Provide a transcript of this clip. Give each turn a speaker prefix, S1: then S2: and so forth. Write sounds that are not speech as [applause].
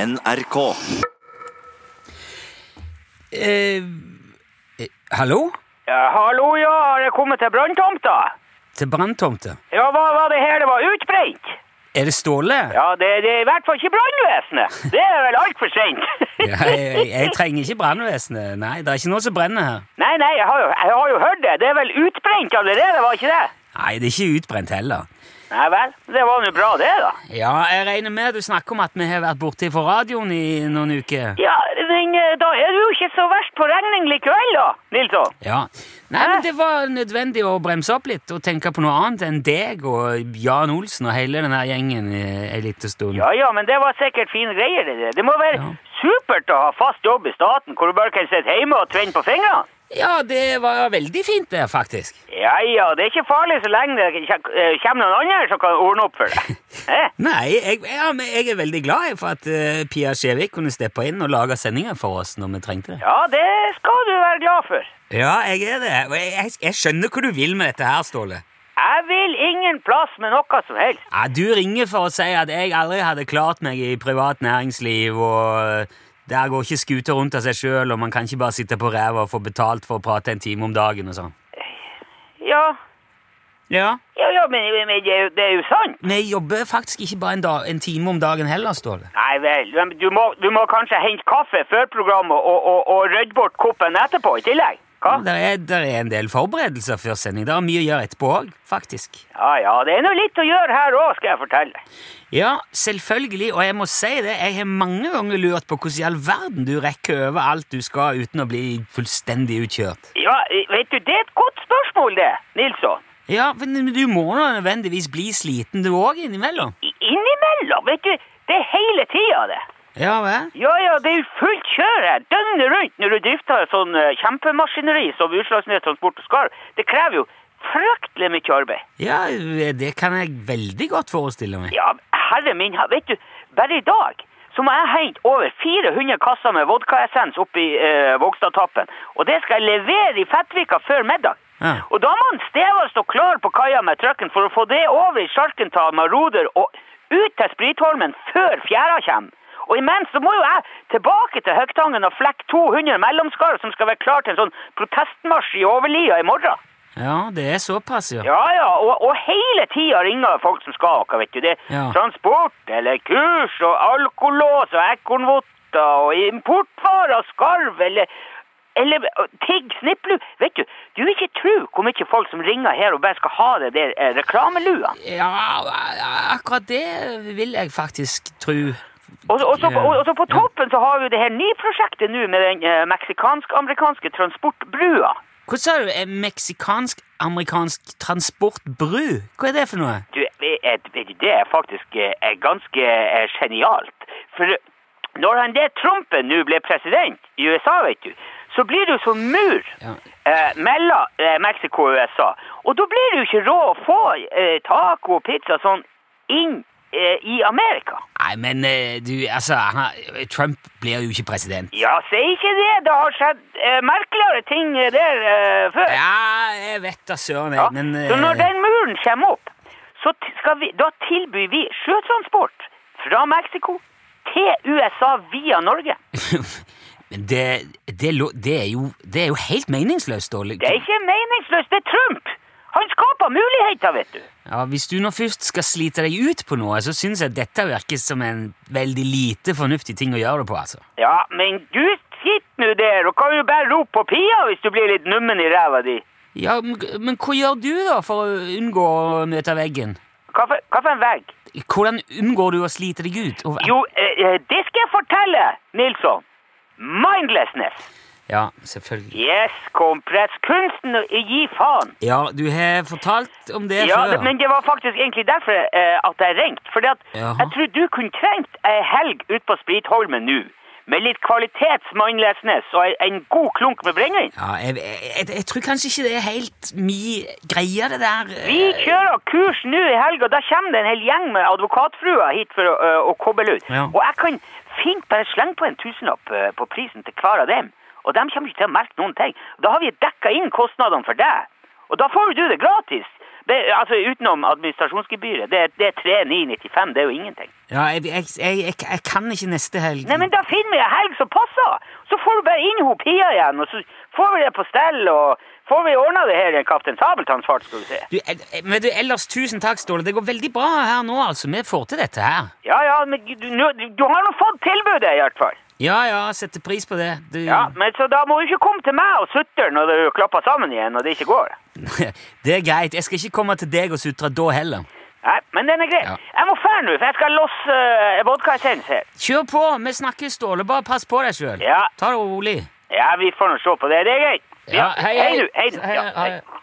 S1: NRK.
S2: Eh, eh, hallo?
S3: Ja, hallo, ja, har jeg kommet til branntomta?
S2: Til branntomte.
S3: Ja, hva var det her det var utbrent?
S2: Er det Ståle?
S3: Ja, det, det er i hvert fall ikke brannvesenet. Det er vel altfor sent.
S2: [laughs] [laughs] Ja, jeg, jeg, jeg trenger ikke brannvesenet. Nei, det er ikke noe som brenner her.
S3: [laughs] Nei, nei, jeg har, jo, jeg har jo hørt det. Det er vel utbrent allerede, var ikke det?
S2: Nei, det er ikke utbrent heller.
S3: Nei vel, det var nå bra det, da.
S2: Ja, jeg regner med du snakker om at vi har vært borte fra radioen i noen uker.
S3: Ja, men eh, da er du jo ikke så verst på regning likevel, da, Nilsson.
S2: Ja. Nei, men det var nødvendig å bremse opp litt og tenke på noe annet enn deg og Jan Olsen og hele den her gjengen i en liten stund.
S3: Ja, ja, men det var sikkert fine greier, det der. Det må være
S2: Ja.
S3: supert å ha fast jobb i staten, hvor du bare kan sitte hjemme og trenne på fingrene.
S2: Ja, det var veldig fint det, faktisk.
S3: Ja, ja, det er ikke farlig så lenge det kje- eh, kommer noen andre som kan ordne opp for det. Eh?
S2: Nei, jeg, ja, men jeg er veldig glad jeg, for at eh, Pia Skjevik kunne steppe inn og lage sendinger for oss når vi trengte det.
S3: Ja, det skal du være glad for.
S2: Ja, jeg er det. Og Jeg, jeg, jeg skjønner hva du vil med dette her, Ståle.
S3: Jeg vil ingen plass med noe som helst.
S2: Ja, du ringer for å si at jeg aldri hadde klart meg i privat næringsliv, og der går ikke skuter rundt av seg sjøl, og man kan ikke bare sitte på ræva og få betalt for å prate en time om dagen og sånn.
S3: Ja,
S2: Ja.
S3: ja, ja men, men det, er jo- det er jo sant.
S2: Vi jobber faktisk ikke bare en, dag, en time om dagen heller, Ståle.
S3: Nei vel, men du må, du må kanskje hente kaffe før programmet og, og, og rydde bort koppen etterpå i tillegg. Hva?
S2: Det er, der er en del forberedelser før sending. Det er mye å gjøre etterpå òg, faktisk.
S3: Ja, ja, det er noe litt å gjøre her òg, skal jeg fortelle deg.
S2: Ja, selvfølgelig, og jeg må si det, jeg har mange ganger lurt på hvordan i all verden du rekker over alt du skal uten å bli fullstendig utkjørt.
S3: Ja, vet du, det er et godt spørsmål, det, Nilsson.
S2: Ja, men du må nå nødvendigvis bli sliten du òg innimellom.
S3: I- Innimellom, vet du, det er hele tida, det.
S2: Ja vel?
S3: Ja, ja, det er jo fullt kjør her, døgnet rundt, når du drifter et sånn eh, kjempemaskineri som Utslagsnes Transport og Skarv. Det krever jo fryktelig mye arbeid.
S2: Ja, det kan jeg veldig godt forestille meg.
S3: Ja, herre min, ha- vet du, bare i dag så må jeg hente over 400 kasser med vodkaessens opp i eh, Vågstadtappen. Og det skal jeg levere i Fettvika før middag.
S2: Ja.
S3: Og da må en Steva stå klar på kaia med trucken for å få det over i Sjarkental med roder og ut til Spritholmen før fjæra kommer. Og imens så må jo jeg tilbake til Høgtangen og flekke 200 mellomskall som skal være klar til en sånn protestmarsj i Overlia i morgen.
S2: Ja, det er såpass, ja.
S3: Ja, ja, og, og hele tida ringer folk som skal noe, vet du. Det er
S2: Ja.
S3: transport eller kurs og alkolås og ekornvotter og importvarer og skarv eller eller ø, tigg, snipplue. Vet du, du vil ikke tro hvor mye folk som ringer her og bare skal ha det der eh, reklamelua.
S2: Ja, akkurat det vil jeg faktisk tro.
S3: Og, så- og, så, på-
S2: Ja.
S3: og, og så på
S2: Ja.
S3: toppen så har vi jo det her nye prosjektet nå med den eh, meksikansk-amerikanske transportbrua.
S2: Hva sa du? Eh, En Meksikansk-amerikansk transportbru? Hva er det for noe?
S3: Du, eh, eh, vet du, det er faktisk eh, eh, ganske eh, genialt. For når han der Trumpen nå ble president i USA, vet du, så blir det jo som mur
S2: Ja.
S3: eh, mellom eh, Mexico og USA. Og da blir det jo ikke råd å få eh, taco og pizza sånn inn eh, i Amerika.
S2: Nei, men eh, du, altså, han, Trump blir jo ikke president.
S3: Ja, si ikke det. Det har skjedd eh, merkeligere ting eh, der eh, før.
S2: Ja, jeg vet da søren, jeg,
S3: Ja.
S2: men
S3: Så
S2: eh,
S3: når den muren kommer opp, så t- skal vi, da tilbyr vi sjøtransport fra Mexico til USA via Norge.
S2: [laughs] Men det, det, lo- det, er jo, det er jo helt meningsløst, Ståle.
S3: Det er ikke meningsløst, det er Trump! Han skaper muligheter, vet du.
S2: Ja, hvis du nå først skal slite deg ut på noe, så syns jeg dette virker som en veldig lite fornuftig ting å gjøre det på, altså.
S3: Ja, men du sitter nå der og kan jo bare rope på Pia hvis du blir litt nummen i ræva di.
S2: Ja, men, men hva gjør du, da, for å unngå å møte veggen?
S3: Hva for, hva for en vegg?
S2: Hvordan unngår du å slite deg ut? Og,
S3: Jo, eh, eh, det skal jeg fortelle, Nilsson. Mindlessness.
S2: Ja, selvfølgelig.
S3: Yes, kompress. Kunsten å gi faen.
S2: Ja, du har fortalt om det
S3: Ja,
S2: før.
S3: det- men det var faktisk egentlig derfor eh, at jeg ringte. Fordi at
S2: Jaha.
S3: jeg tror du kunne trengt ei helg ut på Spritholmen nå. Med litt kvalitetsmannlesnes og ei- en god klunk med brennevin.
S2: Ja, jeg, jeg, jeg, jeg tror kanskje ikke det er helt mi greie, det der. eh,
S3: Vi kjører kurs nå i helga, og da kommer det en hel gjeng med advokatfruer hit for å, eh, å koble ut.
S2: Ja.
S3: Og jeg kan fint bare slenge på en tusenlapp eh, på prisen til hver av dem. Og de kommer ikke til å merke noen ting. Da har vi dekka inn kostnadene for deg. Og da får jo du det gratis. Det, altså Utenom administrasjonsgebyret. Det, er- det er 3995. Det er jo ingenting.
S2: Ja, jeg, jeg, jeg, jeg, jeg kan ikke neste helg.
S3: Nei, men da finner vi en helg som passer! Så får du bare inn hun Pia igjen, og så får vi det på stell, og får vi ordna det her i en Kaptein Sabeltanns fart, skal du se.
S2: Du, eh, men du, ellers tusen takk, Ståle. Det går veldig bra her nå, altså. Vi får til dette her.
S3: Ja ja, men du, nå- du, du har nå fått tilbudet, i hvert fall.
S2: Ja, ja, setter pris på det. Du,
S3: Ja, men Så da må du ikke komme til meg og sutre når du klapper sammen igjen og det ikke går.
S2: [laughs] Det er greit. Jeg skal ikke komme til deg og sutre da heller.
S3: Nei, men den er grei.
S2: Ja.
S3: Jeg må fære nå, for jeg skal losse uh, vodkaessens her.
S2: Kjør på! Vi snakkes, Ståle. Bare pass på deg sjøl.
S3: Ja.
S2: Ta det rolig.
S3: Ja, vi får nå se på det. Det er greit.
S2: Ja, hei, hei.
S3: Hei, du. Hei, du.
S2: Hei,
S3: Ja,
S2: hei.
S3: hei.